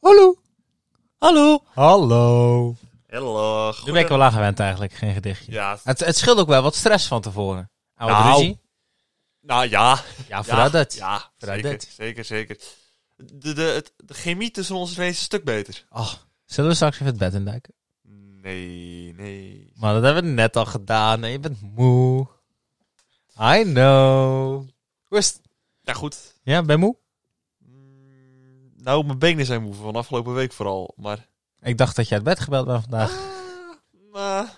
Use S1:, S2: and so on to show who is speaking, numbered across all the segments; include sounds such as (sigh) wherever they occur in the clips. S1: Hallo.
S2: Hallo.
S1: Hallo.
S3: Hallo.
S2: Daar ben ik wel aan gewend eigenlijk, geen gedichtje.
S3: Ja,
S2: Het, het scheelt ook wel wat stress van tevoren. Oude
S3: Nou,
S2: ruzie.
S3: nou ja.
S2: Ja,
S3: ja,
S2: vooruit dat.
S3: Ja,
S2: Vooruit
S3: zeker,
S2: dat.
S3: zeker, zeker. De, de, het- de chemie tussen ons is ineens een stuk beter.
S2: Ach, Oh, zullen we straks even het bed induiken?
S3: Nee, nee.
S2: Maar dat hebben we net al gedaan. En je bent moe. I know. Hoe is het?
S3: Nou goed.
S2: Ja, ben je moe?
S3: Mm, Nou, mijn benen zijn moe van afgelopen week vooral, maar...
S2: Ik dacht dat je uit bed gebeld bent vandaag.
S3: Ah, maar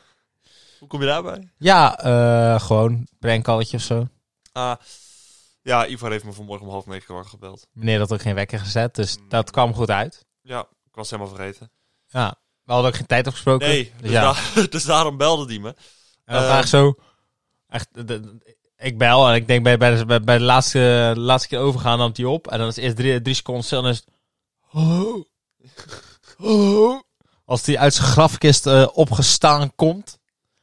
S3: hoe kom je daarbij?
S2: Ja, eh, gewoon prankcalletje of zo.
S3: Ah, ja, Ivar heeft me vanmorgen om half negen wakker gebeld.
S2: Meneer had ook geen wekker gezet, dus dat kwam goed uit.
S3: Ja, ik was helemaal vergeten.
S2: Ja, we hadden ook geen tijd afgesproken.
S3: Nee,
S2: dus
S3: dus,
S2: ja.
S3: da- (laughs) dus daarom belde die me.
S2: En dan
S3: Eh,
S2: vraag ik zo. Echt, de- de- ik bel en ik denk bij, bij, de, bij- bij de laatste, laatste keer overgaan nam hij op. En dan is het eerst drie, drie seconden stil en dan is het... Hallo? Hallo? Als hij uit zijn grafkist eh, opgestaan komt.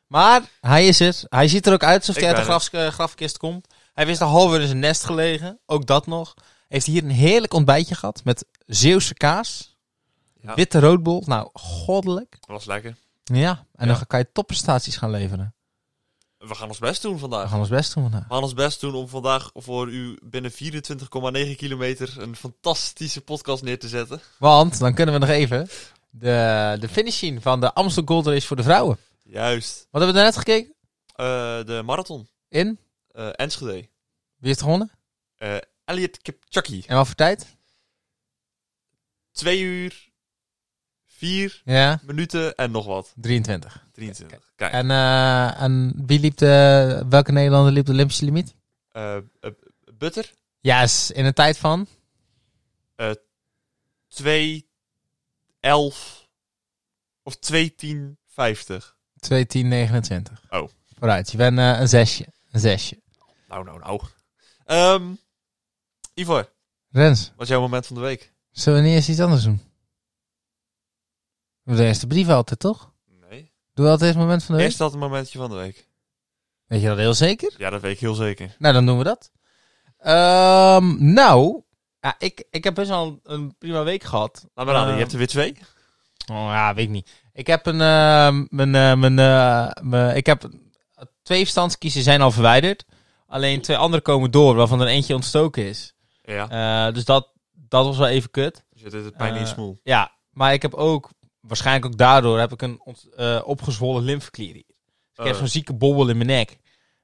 S2: Maar hij is het. Hij ziet er ook uit alsof
S3: Ik
S2: hij uit de
S3: ben
S2: grafs- eh, grafkist komt. Hij heeft een half uur in zijn nest gelegen. Ook dat nog. Heeft hier een heerlijk ontbijtje gehad met Zeeuwse kaas.
S3: Ja.
S2: Witte roodbol. Nou, goddelijk.
S3: Dat was lekker.
S2: Ja, en
S3: Ja.
S2: dan kan je topprestaties gaan leveren.
S3: We gaan ons best doen vandaag.
S2: We gaan ons best doen vandaag.
S3: We gaan ons best doen om vandaag voor u binnen 24,9 kilometer een fantastische podcast neer te zetten.
S2: Want dan kunnen we nog even de, de finish zien van de Amstel Gold Race voor de vrouwen.
S3: Juist.
S2: Wat hebben we daarnet gekeken?
S3: Eh, de marathon.
S2: In?
S3: Eh, Enschede.
S2: Wie heeft gewonnen?
S3: Eh Elliot Kipchoge.
S2: En wat voor tijd?
S3: 2 uur, 4
S2: Ja,
S3: minuten en nog wat.
S2: 23.
S3: 23. Kijk.
S2: En, eh, en wie liep de, welke Nederlander liep de Olympische limiet?
S3: Eh, eh, butter.
S2: Yes, in een tijd van
S3: 2, 11 of 2, 10, 50.
S2: 2.10.29.
S3: Oh.
S2: Vooruit, je bent eh, een zesje. Een zesje.
S3: Nou, nou, nou. Ehm, Ivor,
S2: Rens,
S3: wat is jouw moment van de week?
S2: zullen we niet eens iets anders doen? We doen eerst de brief altijd, toch?
S3: Nee.
S2: Doe we altijd het moment van de week?
S3: Eerst dat een momentje van de week.
S2: Weet je dat heel zeker?
S3: Ja, dat weet ik heel zeker.
S2: Nou, dan doen we dat. Ehm, nou, ja, ik, ik heb best wel een prima week gehad.
S3: Laat maar raden,
S2: Eh,
S3: je hebt er weer twee.
S2: Oh, ja, weet ik niet. Ik heb een. ehm, mijn, eh, mijn, eh, mijn- ik heb twee verstandskiezen zijn al verwijderd. Alleen twee andere komen door, waarvan er eentje ontstoken is.
S3: Ja.
S2: Eh, dus dat, dat was wel even kut.
S3: Dus het is het pijn in je
S2: eh,
S3: smoel.
S2: Ja, maar ik heb ook, waarschijnlijk ook daardoor, heb ik een ont- eh, opgezwollen lymfeklier. Ik heb
S3: Eh,
S2: zo'n zieke bobbel in mijn nek.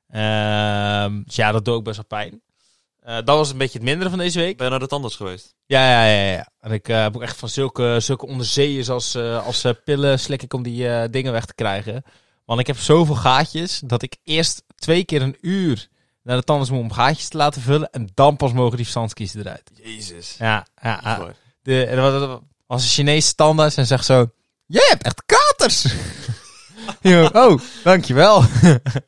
S2: Ehm, dus ja, dat doet ook best wel pijn. Eh, dat was een beetje het mindere van deze week.
S3: ben je naar de tandarts geweest?
S2: Ja, ja, ja. ja. En ik eh, heb ook echt van zulke, zulke onderzeeërs als, eh, als eh, pillen slik ik om die eh, dingen weg te krijgen. Want ik heb zoveel gaatjes dat ik eerst twee keer een uur naar de tandarts moet om gaatjes te laten vullen. En dan pas mogen die verstandskiezen eruit.
S3: Jezus.
S2: Ja, ja, ja.
S3: Ivor.
S2: De, er was- er was een Chinese tandarts en zegt zo... Jij hebt echt katers! (laughs) Yo, oh, dankjewel. (laughs)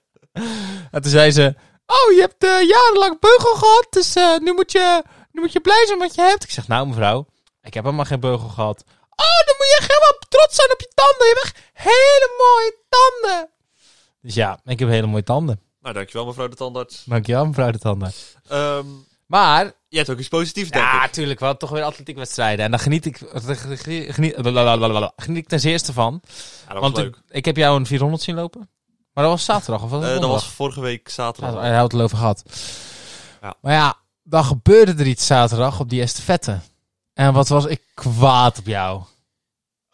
S2: en toen zei ze... Oh, je hebt eh, jarenlang beugel gehad, dus eh, nu, moet je, nu moet je blij zijn wat je hebt. Ik zeg, nou mevrouw, ik heb helemaal geen beugel gehad. Oh, dan moet je echt helemaal trots zijn op je tanden. Je hebt echt hele mooie tanden. Dus ja, ik heb hele mooie tanden.
S3: Nou, dankjewel mevrouw de tandarts.
S2: Dankjewel mevrouw de tanden.
S3: Ehm,
S2: Maar
S3: je hebt ook iets positiefs, denk
S2: Ja,
S3: ik.
S2: tuurlijk. We hadden toch weer atletiekwedstrijden. En daar geniet ik, geniet, geniet, geniet ik ten zeerste van.
S3: Ja, dat was
S2: Want
S3: leuk.
S2: ik, ik heb jou een 400 zien lopen. Maar dat was zaterdag of was
S3: Eh,
S2: het
S3: dat
S2: donderdag?
S3: was vorige week
S2: Zaterdag.
S3: zaterdag.
S2: Hij had het over gehad.
S3: Ja.
S2: Maar ja, dan gebeurde er iets zaterdag op die estafette. En wat was ik kwaad op jou.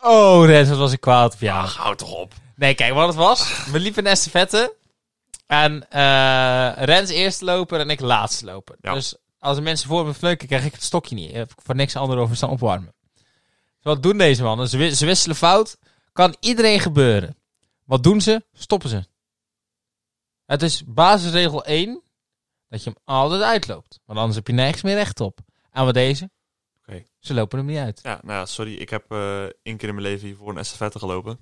S2: Oh, Rens, wat was ik kwaad op jou.
S3: Ach, Ah, hou toch op.
S2: Nee, kijk, wat het was. We liepen een estafette. En eh, Rens eerste loper en ik laatste loper.
S3: Ja.
S2: Dus als er mensen voor me vleuken, krijg ik het stokje niet. Heb ik voor niks anders over staan opwarmen. Dus wat doen deze mannen? Ze, wi- ze wisselen fout. Kan iedereen gebeuren. Wat doen ze? Stoppen ze. Het is basisregel 1. Dat je hem altijd uitloopt. Want anders heb je nergens meer recht op. En wat deze?
S3: Oké.
S2: Ze lopen hem niet uit.
S3: Ja, nou ja, sorry. Ik heb eh één keer in mijn leven voor een estafette gelopen.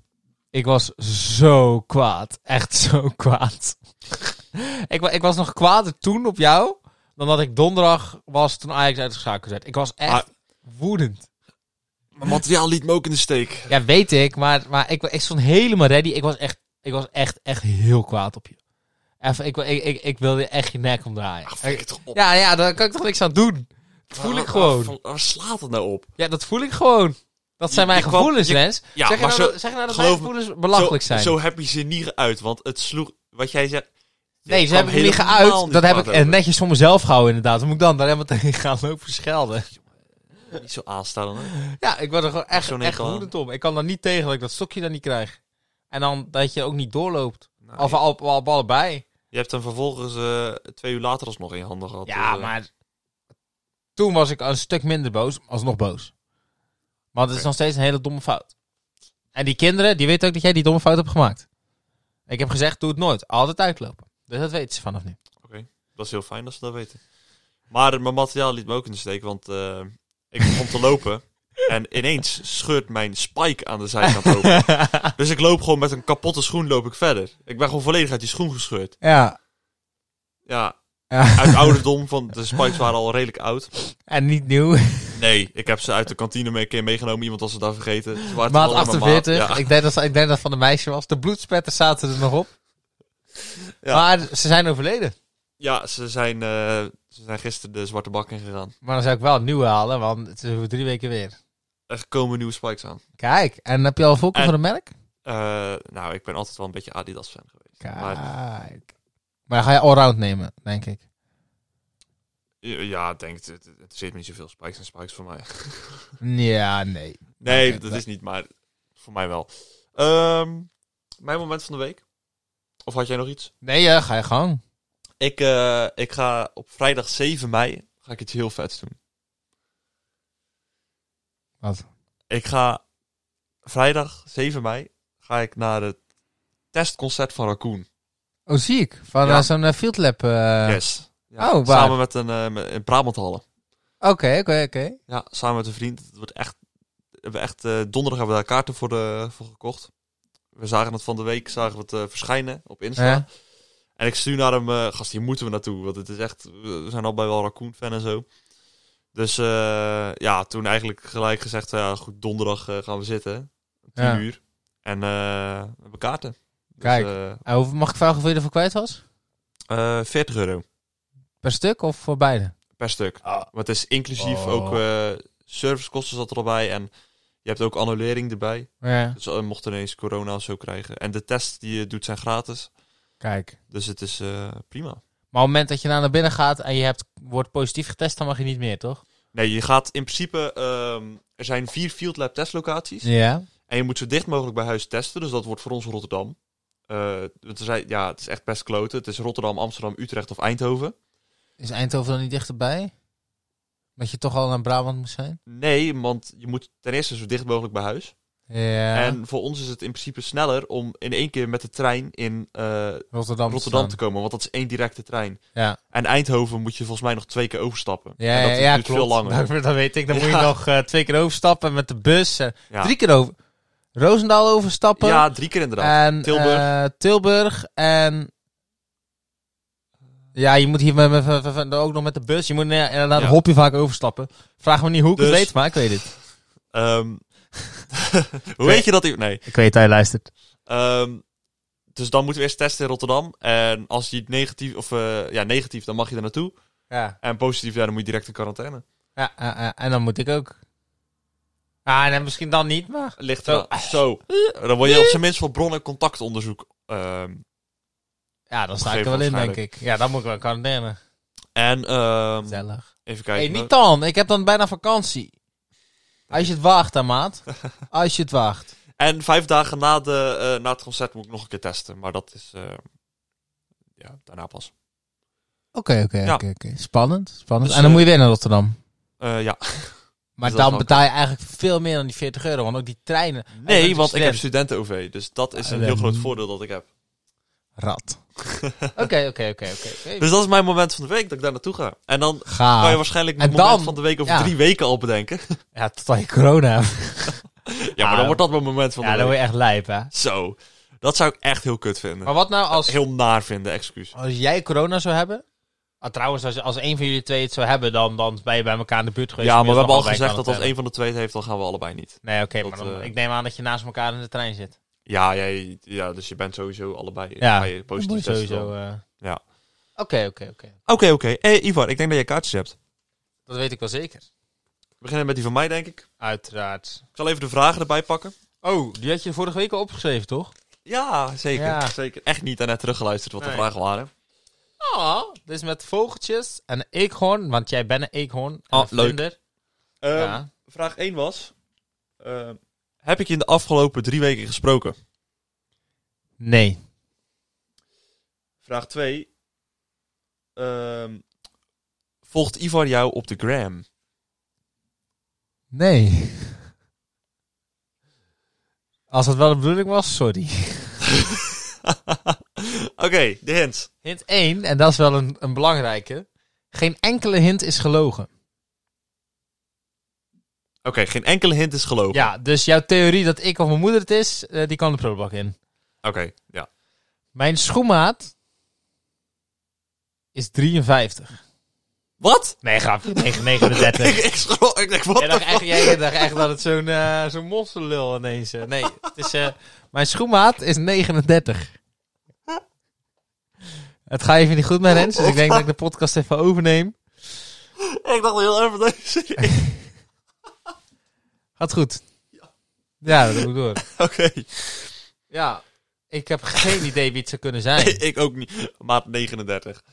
S2: Ik was zo kwaad. Echt zo kwaad. (laughs) ik, wa- ik was nog kwaader toen op jou. dan dat ik donderdag was toen Ajax uitgeschakeld werd. Ik was echt woedend.
S3: Mijn materiaal liet me ook in de steek.
S2: Ja, weet ik. Maar, maar ik, wa- ik stond helemaal ready. Ik was, echt, ik was echt, echt heel kwaad op je. Even, ik, wil- ik, ik, ik wil je echt je nek omdraaien.
S3: Ah, flik het toch op.
S2: ja, ja, daar kan ik toch niks aan doen. Dat voel
S3: Waar-
S2: ik gewoon.
S3: Waar, waar slaat het nou op?
S2: Ja, dat voel ik gewoon. Dat zijn
S3: Je-
S2: mijn
S3: je kwam-
S2: gevoelens,
S3: je-
S2: Lens.
S3: ja,
S2: zeg, je
S3: maar
S2: nou,
S3: zo-
S2: dat- zeg je nou dat mijn
S3: geloof me,
S2: gevoelens belachelijk
S3: zo,
S2: zijn?
S3: Zo heb je ze niet geuit, want het sloeg... Wat jij zegt...
S2: nee,
S3: het
S2: ze hebben
S3: kwam
S2: me niet
S3: helemaal
S2: geuit.
S3: niet
S2: dat heb
S3: kwaad
S2: ik eh,
S3: over.
S2: netjes voor mezelf gehouden, inderdaad. Dan moet ik dan daar helemaal (laughs) tegen gaan lopen schelden.
S3: Niet zo aanstellen, hè? Nou,
S2: Ja, ik word er gewoon echt,
S3: Zo'n
S2: echt
S3: hekel aan.
S2: woedend om. Ik kan daar niet tegen dat ik dat stokje dan niet krijg. En dan dat je ook niet doorloopt.
S3: Nou,
S2: Of
S3: je,
S2: al, al, al allebei.
S3: je hebt hem vervolgens eh, twee uur later alsnog in je handen gehad.
S2: Ja,
S3: eh.
S2: maar toen was ik een stuk minder boos, maar alsnog boos. Want het is
S3: Oké.
S2: nog steeds een hele domme fout. En die kinderen, die weten ook dat jij die domme fout hebt gemaakt. Ik heb gezegd, doe het nooit. Altijd uitlopen. Dus dat weten ze vanaf nu.
S3: Dat is heel fijn dat ze dat weten. Maar mijn materiaal liet me ook in de steek, want eh, ik begon te
S2: (laughs)
S3: lopen. En ineens scheurt mijn spike aan de zijkant
S2: (laughs)
S3: open. Dus ik loop gewoon met een kapotte schoen loop ik verder. Ik ben gewoon volledig uit die schoen gescheurd.
S2: Ja.
S3: Ja,
S2: Ja.
S3: uit
S2: (laughs)
S3: ouderdom, want de spikes waren al redelijk oud.
S2: En niet nieuw.
S3: Nee, ik heb ze uit de kantine mee- een keer meegenomen. Iemand was ze daar vergeten. Ze waren
S2: Maat
S3: toen allemaal
S2: 48.
S3: maat. Ja.
S2: Ik, denk dat, ik denk dat van de meisje was. De bloedspetters zaten er nog op.
S3: Ja.
S2: Maar ze zijn overleden.
S3: Ja, ze zijn, eh, ze zijn gisteren de zwarte bak ingegaan.
S2: Maar dan zou ik wel een nieuwe halen, want het is over drie weken weer.
S3: Er komen nieuwe spikes aan.
S2: Kijk, en heb je al volken
S3: En-
S2: van een merk?
S3: Eh, nou, ik ben altijd wel een beetje Adidas-fan geweest. Maar
S2: Kijk. Maar dan ga je allround nemen, denk ik.
S3: Ja, ik denk, het, het, het zit me niet zoveel spikes en spikes voor mij. (laughs)
S2: Ja, nee.
S3: Nee,
S2: Oké,
S3: dat
S2: nee.
S3: is niet, maar voor mij wel. Ehm, mijn moment van de week. Of had jij nog iets?
S2: Nee, ja, ga je gang.
S3: Ik, eh, ik ga op vrijdag 7 mei ga ik iets heel vets doen.
S2: Wat?
S3: Ik ga vrijdag 7 mei ga ik naar het testconcert van Raccoon.
S2: Oh, zie ik. Van
S3: Ja.
S2: eh, zo'n eh, field lab. eh.
S3: yes. Ja,
S2: Oh, waar?
S3: samen met een eh, met- in Brabanthallen.
S2: Oké, oké, oké.
S3: Ja, samen met een vriend. Het wordt echt, we hebben echt eh, donderdag hebben we daar kaarten voor, de, voor gekocht. We zagen het van de week, zagen we het eh, verschijnen op Insta.
S2: Ja.
S3: En ik stuur naar hem, eh gast, hier moeten we naartoe. Want het is echt, we zijn allebei wel Raccoon-fan en zo. Dus eh, ja, toen eigenlijk gelijk gezegd, ja, goed, donderdag eh, gaan we zitten. Tien
S2: Ja.
S3: uur. En eh, we hebben kaarten. Dus,
S2: Kijk.
S3: eh,
S2: En hoeveel- Mag ik vragen hoeveel je ervoor kwijt was?
S3: eh, 40 euro
S2: Per stuk of voor beide?
S3: per stuk. Want het is inclusief
S2: Oh.
S3: ook eh, servicekosten zat er al bij. En je hebt ook annulering erbij.
S2: Ja.
S3: Dus eh, mocht ineens corona of zo krijgen. En de tests die je doet zijn gratis.
S2: Kijk.
S3: Dus het is eh, prima.
S2: Maar op het moment dat je nou naar binnen gaat en je hebt, wordt positief getest, dan mag je niet meer, toch?
S3: Nee, je gaat in principe... ehm, er zijn vier Field Lab testlocaties.
S2: Ja.
S3: En je moet zo dicht mogelijk bij huis testen. Dus dat wordt voor ons Rotterdam. Eh, want er zijn, ja, het is echt best kloten. Het is Rotterdam, Amsterdam, Utrecht of Eindhoven.
S2: Is Eindhoven dan niet dichterbij? Dat je toch al naar Brabant moet zijn?
S3: Nee, want je moet ten eerste zo dicht mogelijk bij huis.
S2: Ja.
S3: En voor ons is het in principe sneller om in één keer met de trein in eh,
S2: Rotterdam.
S3: Rotterdam
S2: staan.
S3: te komen. Want dat is één directe trein.
S2: Ja.
S3: En Eindhoven moet je volgens mij nog twee keer overstappen.
S2: Ja,
S3: en
S2: ja,
S3: dat
S2: ja,
S3: duurt
S2: klopt.
S3: veel langer.
S2: Dat, dat weet ik. (laughs) Dan moet je
S3: (laughs) Ja.
S2: nog eh, twee keer overstappen met de bus. en
S3: Ja.
S2: Drie keer over. Roosendaal overstappen.
S3: Ja, drie keer inderdaad.
S2: en
S3: Tilburg.
S2: eh, Tilburg. En. Ja, je moet hier met, met- met- met- ook nog met de bus. Je moet eh, inderdaad
S3: Ja.
S2: een hopje vaak overstappen. Vraag me niet hoe ik het
S3: Dus-
S2: weet, maar ik weet het.
S3: Ehm, (laughs) hoe weet je dat? i- Nee.
S2: Ik weet dat je luistert.
S3: Ehm, dus dan moeten we eerst testen in Rotterdam. En als je negatief, of eh, ja, negatief, dan mag je er naartoe.
S2: Ja.
S3: En positief, ja, dan moet je direct in quarantaine.
S2: Ja, ja, ja. en dan moet ik ook. Ah, en dan misschien dan niet, maar.
S3: Ligt
S2: Zo.
S3: er zo. Dan word je op zijn minst voor bron- en contactonderzoek. Ehm,
S2: Ja, dan sta ik er wel in, denk ik. Ja, dan moet ik wel quarantaine.
S3: en ehm,
S2: Gezellig.
S3: even
S2: Hey,
S3: kijken.
S2: niet dan. Ik heb dan bijna vakantie. Als je het waagt, hè,
S3: (laughs)
S2: maat. Als je het waagt.
S3: En vijf dagen na, de, eh, na het concert moet ik nog een keer testen. Maar dat is eh, ja, daarna pas.
S2: Oké, oké,
S3: Ja.
S2: oké. oké. Spannend, spannend.
S3: Dus,
S2: en dan
S3: eh,
S2: moet je weer naar Rotterdam.
S3: Eh, ja.
S2: Maar
S3: dus dat is
S2: dan
S3: wel
S2: betaal je eigenlijk veel meer dan die 40 euro. Want ook die treinen.
S3: Nee,
S2: bent
S3: want ik heb
S2: student.
S3: studenten-OV. Dus dat is een heel groot voordeel dat ik heb.
S2: Rat. (laughs) Oké, oké, oké, oké. oké.
S3: Dus dat is mijn moment van de week dat ik daar naartoe ga. En dan kan je
S2: Ga.
S3: waarschijnlijk
S2: Ah. En
S3: het moment
S2: dan-
S3: van de week over
S2: ja.
S3: drie weken al bedenken. (laughs)
S2: Ja, totdat je corona hebt.
S3: ja, maar
S2: Ah.
S3: dan wordt dat mijn moment van de
S2: Ja, dan
S3: week.
S2: word je echt lijp, hè.
S3: Zo. Dat zou ik echt heel kut vinden.
S2: Maar wat nou als,
S3: Heel naar vinden, excuus.
S2: als jij corona zou hebben? Ah, trouwens, als, als een van jullie twee het zou hebben, dan, dan ben je bij elkaar in de buurt geweest.
S3: Ja,
S2: Dan
S3: maar
S2: ben
S3: we
S2: je
S3: hebben al
S2: allebei
S3: gezegd dat als
S2: quarantaine.
S3: een van de twee het heeft, dan gaan we allebei niet.
S2: Nee, oké,
S3: dat,
S2: maar dan,
S3: eh,
S2: ik neem aan dat je naast elkaar in de trein zit.
S3: Ja, jij, ja, dus je bent sowieso allebei
S2: Ja.
S3: ga je positief testen
S2: sowieso.
S3: dan.
S2: eh.
S3: Ja.
S2: Oké, oké, oké.
S3: Oké, oké. Eh, Ivar, ik denk dat jij kaartjes hebt.
S2: Dat weet ik wel zeker.
S3: We beginnen met die van mij, denk ik.
S2: Uiteraard.
S3: Ik zal even de vragen erbij pakken.
S2: Oh, die had je vorige week al opgeschreven, toch?
S3: Ja, zeker.
S2: Ja.
S3: zeker. Echt niet daarna teruggeluisterd wat
S2: Nee.
S3: de vragen waren.
S2: Oh, dit is met vogeltjes en een eekhoorn, want jij bent een eekhoorn. en
S3: Oh,
S2: een
S3: leuk.
S2: vlinder.
S3: Ehm,
S2: Ja.
S3: Vraag 1 was... ehm, heb ik je in de afgelopen drie weken gesproken?
S2: Nee.
S3: Vraag 2. volgt Ivar jou op de gram?
S2: Nee. Als dat wel de bedoeling was, sorry.
S3: Oké, de hint.
S2: Hint 1, en dat is wel een, een belangrijke. Geen enkele hint is gelogen.
S3: Oké, geen enkele hint is gelogen.
S2: Ja, dus jouw theorie dat ik of mijn moeder het is, eh, die kan de prullenbak in.
S3: Oké, ja.
S2: Mijn schoenmaat is 53.
S3: Wat?
S2: Nee, grapje. negen-
S3: ik,
S2: 39.
S3: (laughs) ik schrok. Ik denk, wat
S2: Jij
S3: de
S2: dacht echt, jij dacht echt dat het zo'n eh, zo'n monsterlul ineens... eh, nee, het is, eh, mijn schoenmaat is 39. Het gaat even niet goed met Rens, dus ik denk dat ik de podcast even overneem.
S3: f- Ik dacht heel even deze.
S2: Gaat goed. Ja, dat doe ik door.
S3: (laughs) Oké, (laughs)
S2: Ja, ik heb geen idee wie het zou kunnen zijn.
S3: ik ook niet. Maat 39.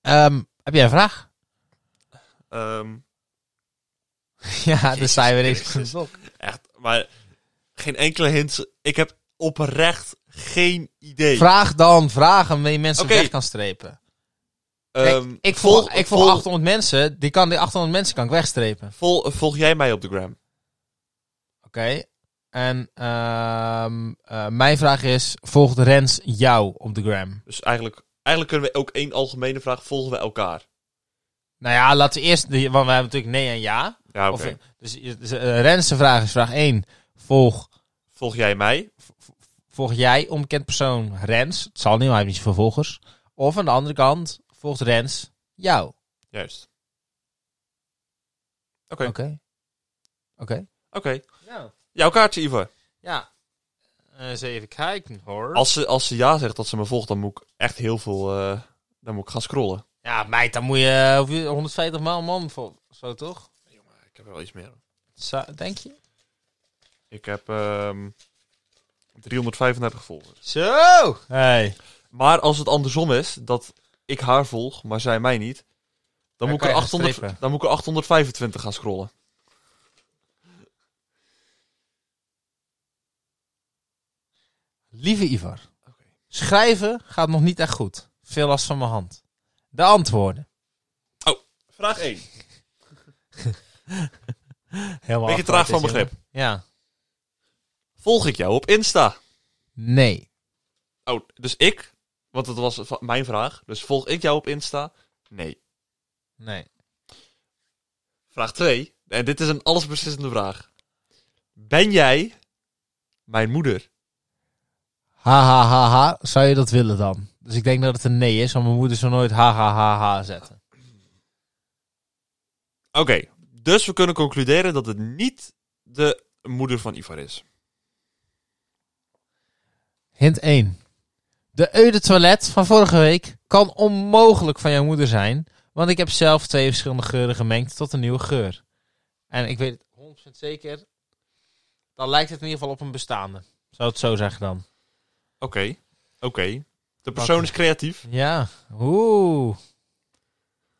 S2: Ehm, heb jij een vraag? (laughs)
S3: Ehm,
S2: Ja, dan sta je weer
S3: Jezus
S2: eens op de blok.
S3: echt, maar geen enkele hint. Ik heb oprecht geen idee.
S2: Vraag dan vragen waarmee je mensen
S3: Oké.
S2: weg kan strepen. Kijk,
S3: Ehm,
S2: ik volg,
S3: volg-
S2: ik volg
S3: volg-
S2: 800 mensen, die, kan, die 800 mensen kan ik wegstrepen.
S3: vol- volg jij mij op de gram?
S2: Oké. En ehm, eh, mijn vraag is, volgt Rens jou op de gram?
S3: Dus eigenlijk, eigenlijk kunnen we ook één algemene vraag volgen we elkaar.
S2: Nou ja, laten we eerst, die- want we hebben natuurlijk nee en ja.
S3: Ja, oké.
S2: Of, eh, dus dus, eh, Rens' vraag is vraag 1. Volg,
S3: Volg jij mij?
S2: volg jij onbekend persoon Rens? Het zal niet, maar hij heeft niet zoveel volgers. Of aan de andere kant, volgt Rens jou?
S3: Juist.
S2: Oké.
S3: Oké.
S2: Oké.
S3: Oké. Jouw kaartje, Ivar.
S2: Ja. Eh, Eens even kijken hoor.
S3: Als ze, als ze ja zegt dat ze me volgt, dan moet ik echt heel veel... eh, dan moet ik gaan scrollen.
S2: Ja, meid, dan moet je, eh, hoef je 150 maal man voor. Zo toch?
S3: Ik heb wel iets meer.
S2: Zo, denk je?
S3: Ik heb ehm, 335 volgers.
S2: Zo! Hey.
S3: Maar als het andersom is, dat ik haar volg, maar zij mij niet... Dan,
S2: Dan
S3: moet, ik
S2: kan
S3: er
S2: je gaan
S3: 800,
S2: strepen.
S3: dan moet ik er 825 gaan scrollen.
S2: Lieve Ivar.
S3: Oké.
S2: Schrijven gaat nog niet echt goed. Veel last van mijn hand. De antwoorden.
S3: Vraag 1.
S2: Helemaal
S3: Beetje traag van
S2: achteruit,
S3: begrip.
S2: jongen. Ja.
S3: Volg ik jou op Insta?
S2: Nee.
S3: Oh, dus ik? Want dat was va- mijn vraag. Dus volg ik jou op Insta? Nee.
S2: Nee.
S3: Vraag 2. En dit is een allesbeslissende vraag. Ben jij mijn moeder?
S2: Ha, ha, ha, ha. Zou je dat willen dan? Dus ik denk dat het een nee is, want mijn moeder zou nooit ha, ha, ha, ha zetten.
S3: Oké, dus we kunnen concluderen dat het niet de moeder van Ivar is.
S2: Hint 1. De Eude toilet van vorige week kan onmogelijk van jouw moeder zijn, want ik heb zelf twee verschillende geuren gemengd tot een nieuwe geur. En ik weet het 100% zeker, dan lijkt het in ieder geval op een bestaande. Zou het zo zeggen dan?
S3: Oké, oké. De persoon is creatief.
S2: Ja, oeh.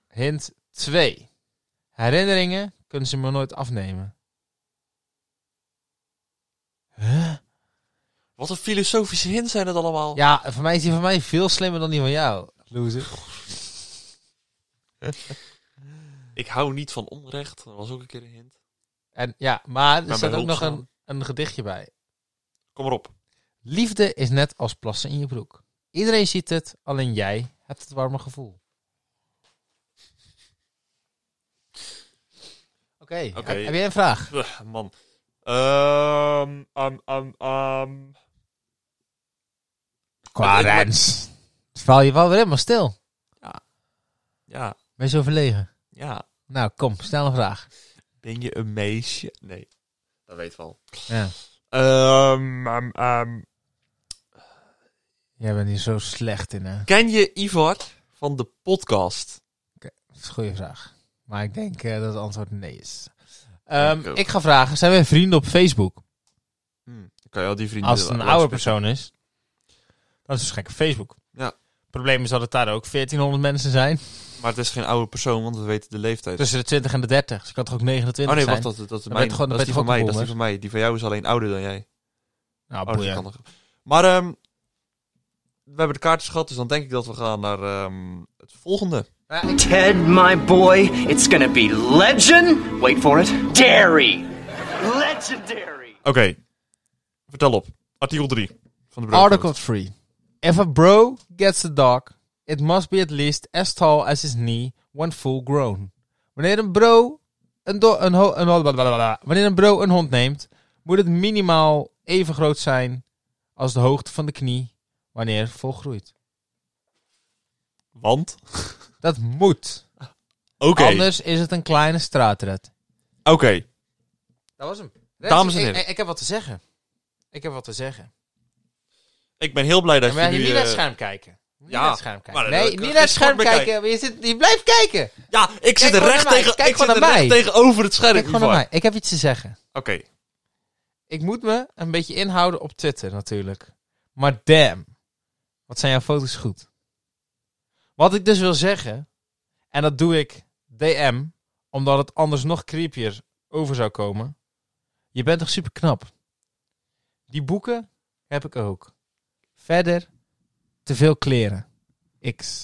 S2: Hint 2. Herinneringen kunnen ze me nooit afnemen. Huh?
S3: Wat een filosofische hint zijn het allemaal.
S2: Ja, voor mij is die van mij veel slimmer dan die van jou, loser.
S3: Ik hou niet van onrecht. Dat was ook een keer een hint.
S2: En ja, maar er
S3: Maar
S2: staat
S3: bij
S2: ook nog een,
S3: Hulpzaam.
S2: een gedichtje bij.
S3: Kom maar op.
S2: Liefde is net als plassen in je broek. Iedereen ziet het, alleen jij hebt het warme gevoel. Oké,
S3: Oké.
S2: heb, heb jij een vraag?
S3: Ugh, man. Ehm, am, am, am. Quarens.
S2: Val je wel weer helemaal stil.
S3: Ja,
S2: Ben je zo verlegen?
S3: ja.
S2: Nou, kom, stel een vraag.
S3: Ben je een meisje? Nee, dat weet wel.
S2: Ja.
S3: Ehm, ehm, ehm.
S2: Jij bent hier zo slecht in, hè?
S3: Ken je Ivar van de podcast?
S2: Dat is een goede vraag. Maar ik denk eh, dat het antwoord nee is. Ehm,
S3: Ik ook.
S2: ik ga vragen, zijn we vrienden op Facebook?
S3: Hm, dan kan je al die vrienden...
S2: Als het een
S3: langs-
S2: oude persoon is, dan is het gek op Facebook.
S3: Ja.
S2: Het probleem is dat het daar ook 1400 mensen zijn.
S3: Maar het is geen oude persoon, want we weten de
S2: Dus
S3: leeftijd.
S2: Tussen de 20 en de 30. Dus ik kan toch ook 29
S3: oh nee,
S2: zijn?
S3: wacht, dat, dat, is
S2: Dan
S3: mijn,
S2: ben je gewoon-
S3: dat
S2: dan
S3: is
S2: ben je toch
S3: die van
S2: ook
S3: mij.
S2: een
S3: Dat is die van mij. Die van jou is alleen ouder dan jij.
S2: Nou,
S3: Oh, dat
S2: boeien.
S3: kan nog. Maar ehm, we hebben de kaartjes gehad, dus dan denk ik dat we gaan naar ehm, het volgende.
S4: Ted, my boy, it's gonna be legend. Wait for it. Dairy. Legendary.
S3: Oké, vertel op. Artikel 3 van de Brugcode.
S2: Article 3. If a bro gets a dog, it must be at least as tall as his knee when full grown. Wanneer een bro een, do- een, ho- een ho- blablabla. Wanneer een bro een hond neemt, moet het minimaal even groot zijn als de hoogte van de knie wanneer volgroeid.
S3: Want?
S2: Dat moet.
S3: Oké,
S2: Anders is het een kleine straatred.
S3: oké.
S2: Dat was hem.
S3: Dames en heren.
S2: Ik, ik heb wat te zeggen. Ik heb wat te zeggen.
S3: Ik ben heel blij dat
S2: En wij
S3: je
S2: hier
S3: nu...
S2: niet naar het
S3: eh,
S2: scherm kijken. Niet
S3: ja,
S2: naar het scherm kijken.
S3: maar dan
S2: Nee,
S3: kan
S2: niet
S3: ik
S2: naar het
S3: geen
S2: scherm
S3: sport meer
S2: kijken. maar Je, zit, je blijft kijken.
S3: Ja, ik zit
S2: gewoon
S3: er
S2: naar
S3: recht,
S2: mij.
S3: tegen,
S2: Kijk
S3: ik zit
S2: gewoon
S3: er
S2: naar
S3: recht
S2: mij.
S3: tegenover het scherm.
S2: Kijk gewoon naar
S3: Ivar.
S2: mij. Ik heb iets te zeggen.
S3: Oké,
S2: Ik moet me een beetje inhouden op Twitter natuurlijk. Maar damn. Wat zijn jouw foto's goed. Wat ik dus wil zeggen. En dat doe ik DM. Omdat het anders nog creepier over zou komen. Je bent toch super knap. Die boeken heb ik ook. Verder. Te veel kleren. X.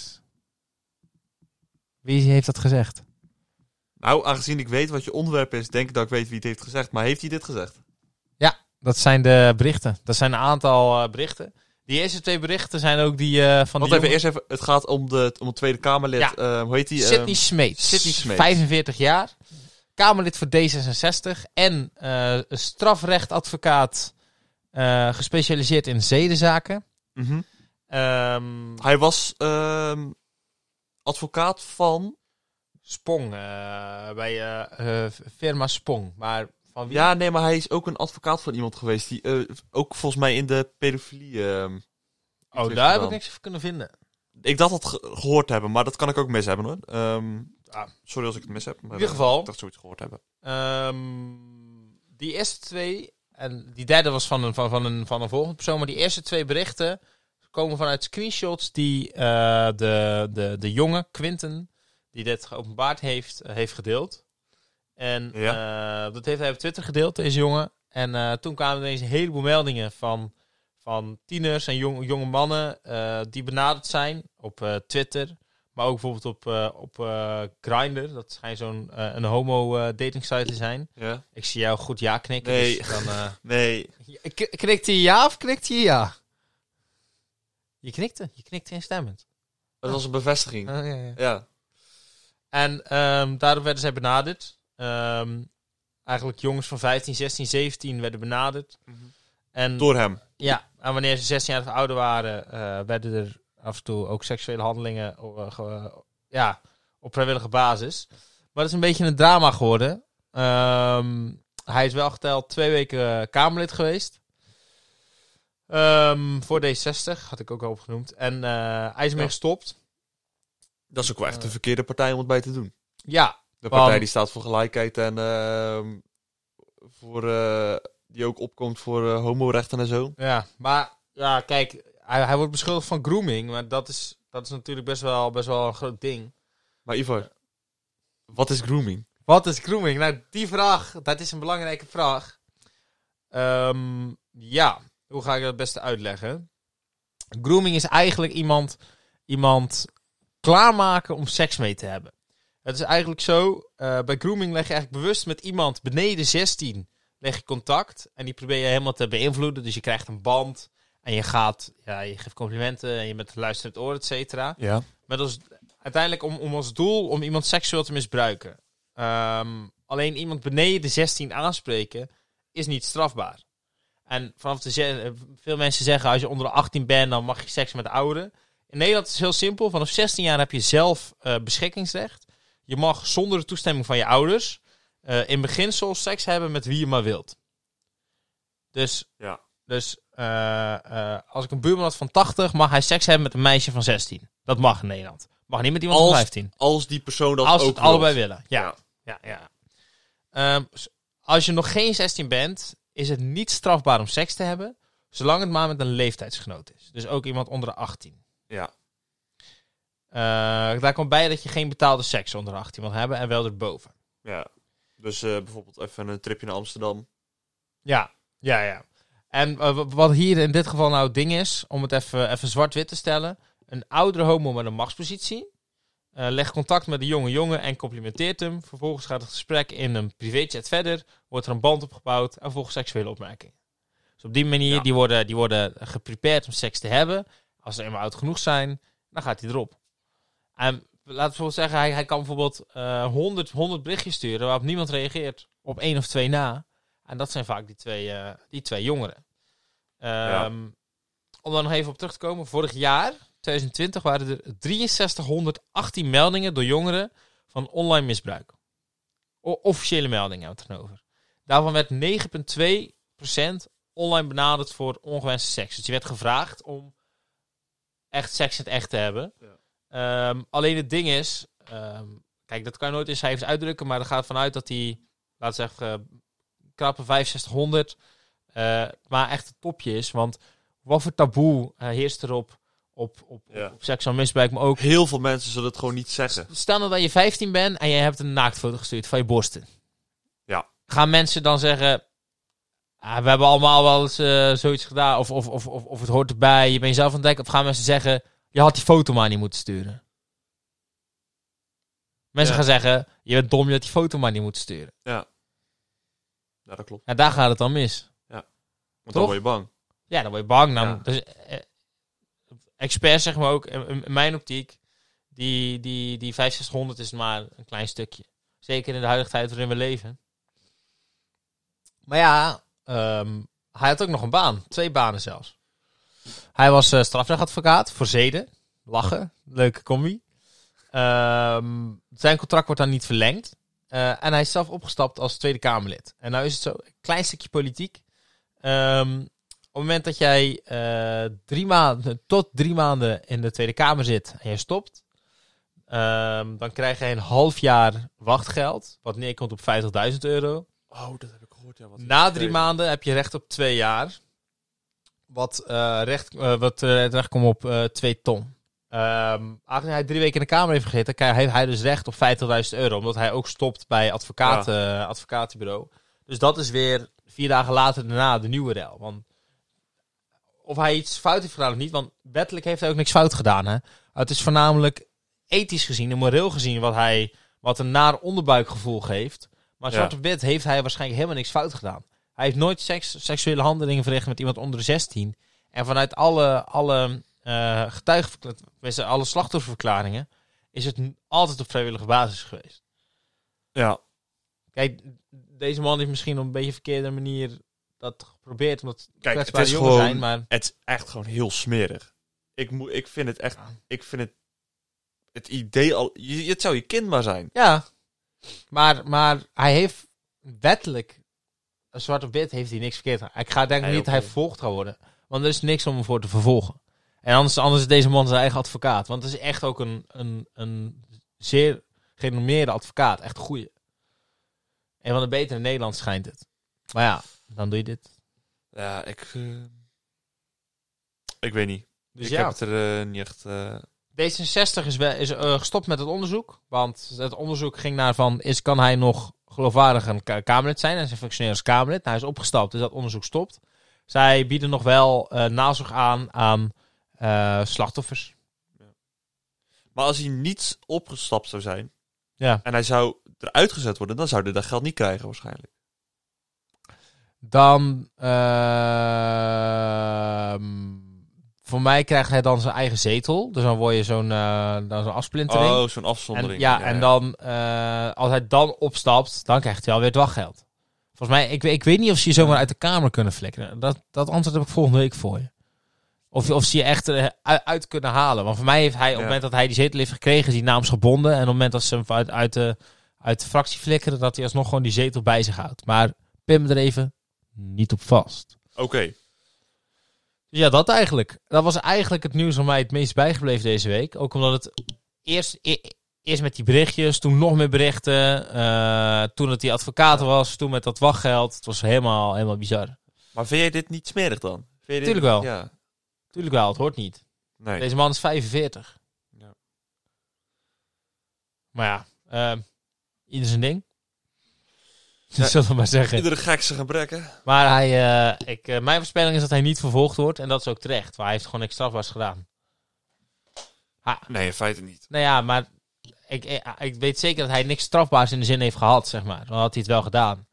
S2: Wie heeft dat gezegd?
S3: nou aangezien ik weet wat je onderwerp is, denk ik dat ik weet wie het heeft gezegd. Maar heeft hij dit gezegd?
S2: Dat zijn de berichten. Dat zijn een aantal eh, berichten. Die eerste twee berichten zijn ook die eh, van
S3: Want
S2: die
S3: even,
S2: jongen-
S3: eerst even, het gaat om, de, om het Tweede Kamerlid,
S2: Ja.
S3: eh, hoe heet die?
S2: Sidney
S3: Ehm,
S2: Smeet.
S3: Sidney Smeet.
S2: 45 jaar. Kamerlid voor D66 en eh, een strafrechtadvocaat eh, gespecialiseerd in zedenzaken.
S3: mhm.
S2: Ehm,
S3: Hij was ehm, advocaat van.
S2: Spong, eh, bij eh, eh, firma Spong. Maar van wie?
S3: Ja, nee, maar hij is ook een advocaat van iemand geweest die eh, ook volgens mij in de pedofilie. ehm, iets heeft
S2: oh, daar heb ik
S3: gedaan.
S2: niks over kunnen vinden.
S3: Ik dacht dat ge- gehoord te hebben, maar dat kan ik ook mis hebben hoor. Ehm,
S2: Ah.
S3: sorry als ik het mis heb. Maar eh,
S2: In ieder geval.
S3: Ik dacht zoiets gehoord te hebben.
S2: Ehm, die eerste twee, en die derde was van een, van, van, een, van een volgende persoon, maar die eerste twee berichten komen vanuit screenshots die eh, de, de, de jonge Quinten, die dit geopenbaard heeft, eh, heeft gedeeld. En eh, dat heeft hij op Twitter gedeeld, deze jongen. En eh, toen kwamen ineens een heleboel meldingen van, van tieners en jong, jonge mannen eh, die benaderd zijn op eh, Twitter. Maar ook bijvoorbeeld op, eh op eh Grindr. Dat schijnt zo'n eh, een homo eh, dating site te zijn.
S3: Ja?
S2: Ik zie jou goed ja knikken.
S3: Nee.
S2: Dus dan, eh,
S3: Nee.
S2: k- knikt hij ja of knikt hij ja? Je knikte. Je knikte instemmend.
S3: Dat was een bevestiging.
S2: Oh, ja, ja.
S3: Ja.
S2: En ehm daardoor werden zij benaderd. Ehm, eigenlijk jongens van 15, 16, 17 werden benaderd.
S3: Mhm.
S2: En,
S3: Door hem.
S2: ja, en wanneer ze 16 jaar of ouder waren, eh, werden er af en toe ook seksuele handelingen eh, ge- ja, op vrijwillige basis. Maar het is een beetje een drama geworden. Ehm, hij is wel geteld twee weken eh, Kamerlid geweest. Ehm, voor D60, had ik ook al opgenoemd. En eh, hij is ermee
S3: Ja.
S2: gestopt.
S3: Dat is ook wel echt
S2: Eh.
S3: de verkeerde partij om het bij te doen.
S2: Ja,
S3: De
S2: Want-
S3: partij die staat voor gelijkheid en ehm, voor, eh, die ook opkomt voor eh, homorechten en zo.
S2: Ja, maar ja, kijk, hij, hij wordt beschuldigd van grooming, maar dat is, dat is natuurlijk best wel, best wel een groot ding.
S3: Maar Ivar, wat is grooming?
S2: Wat is grooming? Nou, die vraag, dat is een belangrijke vraag. Ehm, ja, hoe ga ik dat het beste uitleggen? Grooming is eigenlijk iemand, iemand klaarmaken om seks mee te hebben. Het is eigenlijk zo, eh, bij grooming leg je eigenlijk bewust met iemand beneden 16 leg je contact en die probeer je helemaal te beïnvloeden. Dus je krijgt een band en je gaat, ja, je geeft complimenten en je bent luisterend oor, et cetera.
S3: Ja.
S2: Met als, uiteindelijk om, om als doel om iemand seksueel te misbruiken. Ehm, alleen iemand beneden de 16 aanspreken is niet strafbaar. En vanaf de ze- eh, veel mensen zeggen als je onder de 18 bent, dan mag je seks met ouderen. In Nederland is het heel simpel. Vanaf 16 jaar heb je zelf eh, beschikkingsrecht. Je mag zonder de toestemming van je ouders eh, in beginsel seks hebben met wie je maar wilt. Dus
S3: Ja.
S2: Dus eh, eh, als ik een buurman had van 80, mag hij seks hebben met een meisje van 16. Dat mag in Nederland. Mag niet met iemand van
S3: Als-
S2: 15.
S3: Als die persoon dat
S2: Als ze
S3: ook
S2: het allebei
S3: wil.
S2: willen. Ja. ja. ja, Ehm, s- als je nog geen 16 bent, is het niet strafbaar om seks te hebben. Zolang het maar met een leeftijdsgenoot is. Dus ook iemand onder de 18.
S3: Ja.
S2: Eh, daar komt bij dat je geen betaalde seks onder de 18 mag hebben en wel erboven.
S3: ja. Dus eh, bijvoorbeeld even een tripje naar Amsterdam.
S2: Ja, ja, ja. En eh, wa- wat hier in dit geval nou het ding is, om het even, even zwart-wit te stellen. Een oudere homo met een machtspositie eh, legt contact met de jonge jongen en complimenteert hem. Vervolgens gaat het gesprek in een privéchat verder, wordt er een band opgebouwd en volgens seksuele opmerkingen. Dus op die manier,
S3: Ja.
S2: die, worden, die worden geprepared om seks te hebben. Als ze eenmaal oud genoeg zijn, dan gaat hij erop. En laten we bijvoorbeeld zeggen, hij, hij kan bijvoorbeeld eh 100, 100 berichtjes sturen waarop niemand reageert op één of twee na. En dat zijn vaak die twee, eh, die twee jongeren. Ehm, Om daar nog even op terug te komen. Vorig jaar, 2020, waren er 6318 meldingen door jongeren van online misbruik. O- officiële meldingen hebben we het dan over. Daarvan werd 9,2% online benaderd voor ongewenste seks. Dus je werd gevraagd om echt seks in het echt te hebben. Ehm, alleen het ding is, ehm, kijk, dat kan je nooit in cijfers uitdrukken, maar er gaat vanuit dat die, laten we zeggen, eh, krappe 6500, eh, maar echt het topje is. Want wat voor taboe eh, heerst er op, op, op,
S3: Ja.
S2: op seksueel misbruik, maar ook
S3: Heel veel mensen zullen het gewoon niet zeggen.
S2: Stel nou dat je 15 bent en je hebt een naaktfoto gestuurd van je borsten.
S3: Ja.
S2: Gaan mensen dan zeggen... "Ah, we hebben allemaal wel eens eh, zoiets gedaan. Of, of, of, of, of het hoort erbij. Je bent jezelf aan het dekken. Of gaan mensen zeggen... Je had die foto maar niet moeten sturen. Mensen
S3: Ja.
S2: gaan zeggen... Je bent dom, je had die foto maar niet moeten sturen.
S3: Ja, dat klopt.
S2: En daar gaat het dan mis.
S3: Want
S2: Toch?
S3: dan word je bang.
S2: Ja, dan word je bang. Dan,
S3: Ja.
S2: dus, eh, experts, zeg maar ook, in, in- in mijn optiek, die, die, die 5600 is maar een klein stukje. Zeker in de huidige tijd waarin we leven. Maar ja, ehm, hij had ook nog een baan. Twee banen zelfs. Hij was eh, strafrechtadvocaat voor zeden. Lachen. Leuke combi. Ehm, zijn contract wordt dan niet verlengd. Eh, en hij is zelf opgestapt als Tweede Kamerlid. En nou is het zo, een klein stukje politiek. Ehm, op het moment dat jij eh, drie maanden, tot drie maanden in de Tweede Kamer zit en je stopt, ehm, dan krijg je een half jaar wachtgeld, wat neerkomt op 50.000 euro.
S3: Oh, dat heb ik gehoord. Ja, wat
S2: Na drie maanden heb je recht op twee jaar, wat, eh, recht, eh, wat eh, het recht komt op eh, twee ton. Ehm aangezien hij drie weken in de Kamer heeft gezeten, krijgt- heeft hij dus recht op 50.000 euro, omdat hij ook stopt bij advocaten, advocatenbureau. Dus dat is weer vier dagen later daarna de nieuwe rel. Want of hij iets fout heeft gedaan of niet, want wettelijk heeft hij ook niks fout gedaan. Hè? Het is voornamelijk ethisch gezien en moreel gezien wat hij wat een naar onderbuikgevoel geeft. Maar
S3: Ja.
S2: zwart op wit heeft hij waarschijnlijk helemaal niks fout gedaan. Hij heeft nooit seks, seksuele handelingen verricht met iemand onder de 16. En vanuit alle, alle eh getuigen, tenminste, alle slachtofferverklaringen, is het n- altijd op vrijwillige basis geweest.
S3: Ja.
S2: Kijk, deze man heeft misschien op een beetje verkeerde manier dat geprobeerd. Omdat
S3: Kijk, het
S2: kwetsbare
S3: is
S2: jongens
S3: gewoon-
S2: zijn, maar
S3: Het is echt gewoon heel smerig. Ik, moet, ik vind het echt... Ik vind het... Het idee al... Je, het zou je kind maar zijn.
S2: ja. Maar, maar hij heeft wettelijk, eh, zwart op wit, heeft hij niks verkeerd gedaan. Ik ga denk
S3: Nee,
S2: niet
S3: ook
S2: dat hij
S3: niet.
S2: vervolgd gaat worden. Want er is niks om hem voor te vervolgen. En anders, anders is deze man zijn eigen advocaat. Want het is echt ook een, een, een zeer gerenommeerde advocaat. Echt een goeie. Een van de betere in Nederland schijnt het. Maar ja, dan doe je dit.
S3: Ja, ik... eh, ik weet niet.
S2: Dus
S3: ik
S2: ja.
S3: heb het er eh, niet echt... eh,
S2: D66 is, wel- is eh, gestopt met het onderzoek. Want het onderzoek ging naar van... Is, kan hij nog geloofwaardig een ka- Kamerlid zijn? En zijn functioneert als Kamerlid. Nou, hij is opgestapt, dus dat onderzoek stopt. Zij bieden nog wel eh, nazorg aan aan eh, slachtoffers.
S3: Maar als hij niet opgestapt zou zijn...
S2: Ja.
S3: En hij zou eruit gezet worden... Dan zou hij dat geld niet krijgen waarschijnlijk.
S2: Dan... ehm, voor mij krijgt hij dan zijn eigen zetel. Dus dan word je zo'n eh, dan zo'n afsplintering.
S3: Oh, zo'n afzondering.
S2: En, ja, en dan, eh, als hij dan opstapt, dan krijgt hij alweer het wachtgeld. Volgens mij, ik, weet- ik weet niet of ze je zomaar uit de kamer kunnen flikkeren. Dat, dat antwoord heb ik volgende week voor je. Of, of ze je echt eh, u- uit, kunnen halen. Want voor mij heeft hij, op het
S3: Ja.
S2: moment dat hij die zetel heeft gekregen, is die naams gebonden. En op het moment dat ze hem uit, uit, de, uit de fractie flikkeren, dat hij alsnog gewoon die zetel bij zich houdt. Maar pin me er even niet op vast.
S3: Oké.
S2: Ja, dat eigenlijk. Dat was eigenlijk het nieuws van mij het meest bijgebleven deze week. Ook omdat het eerst, e- eerst met die berichtjes, toen nog meer berichten. eh, toen het die advocaat was, toen met dat wachtgeld. Het was helemaal, helemaal bizar.
S3: Maar vind jij dit niet smerig dan? Vind je dit-
S2: Tuurlijk wel.
S3: Ja.
S2: Tuurlijk wel, het hoort niet.
S3: Nee.
S2: Deze man is 45.
S3: Ja.
S2: Maar ja, eh, ieder zijn ding. (laughs)
S3: Ja.
S2: Zullen we maar zeggen.
S3: Iedere gek zijn gebrekken.
S2: Maar hij, eh, ik, eh, mijn voorspelling is dat hij niet vervolgd wordt. En dat is ook terecht. Maar hij heeft gewoon niks strafbaars gedaan.
S3: Nee, in feite niet.
S2: Nou ja, maar ik, ik, ik weet zeker dat hij niks strafbaars in de zin heeft gehad, zeg maar. Dan had hij het wel gedaan.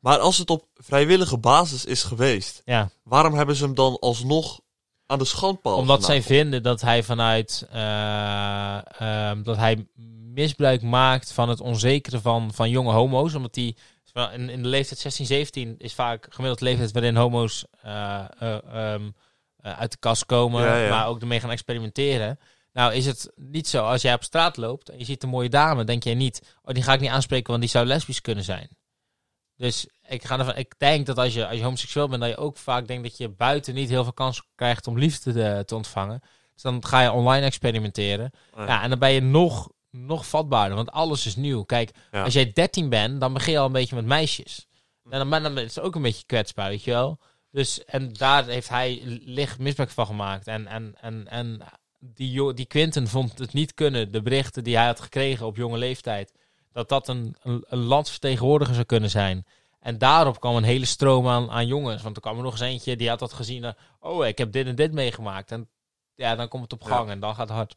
S3: Maar als het op vrijwillige basis is geweest,
S2: Ja,
S3: waarom hebben ze hem dan alsnog aan de schandpaal?
S2: omdat zij
S3: genageld?
S2: vinden dat hij vanuit... eh, ehm, dat hij misbruik maakt van het onzekere van, van jonge homo's. Omdat die... terwijl In, in de leeftijd 16, 17 is vaak gemiddeld de leeftijd waarin homo's eh, eh, ehm, eh, uit de kast komen.
S3: Ja, ja.
S2: Maar ook ermee gaan experimenteren. Nou is het niet zo, als jij op straat loopt en je ziet een mooie dame, denk jij niet, oh die ga ik niet aanspreken, want die zou lesbisch kunnen zijn. Dus ik, ga ervan, ik denk dat als je, als je homoseksueel bent, dat je ook vaak denkt dat je buiten niet heel veel kans krijgt om liefde te, te ontvangen. Dus dan ga je online experimenteren.
S3: Ja.
S2: Ja, en dan ben je nog, nog vatbaarder, want alles is nieuw. Kijk,
S3: Ja.
S2: als jij 13 bent, dan begin je al een beetje met meisjes. En dan, maar dan is het ook een beetje kwetsbaar, weet je wel. Dus, en daar heeft hij licht misbruik van gemaakt. En, en, en, en die, jo- die Quinten vond het niet kunnen, de berichten die hij had gekregen op jonge leeftijd, dat dat een, een, een landsvertegenwoordiger zou kunnen zijn. En daarop kwam een hele stroom aan, aan jongens. Want er kwam er nog eens eentje die had dat gezien. eh, Oh, ik heb dit en dit meegemaakt. En ja, dan komt het op
S3: Ja.
S2: gang en dan gaat het hard.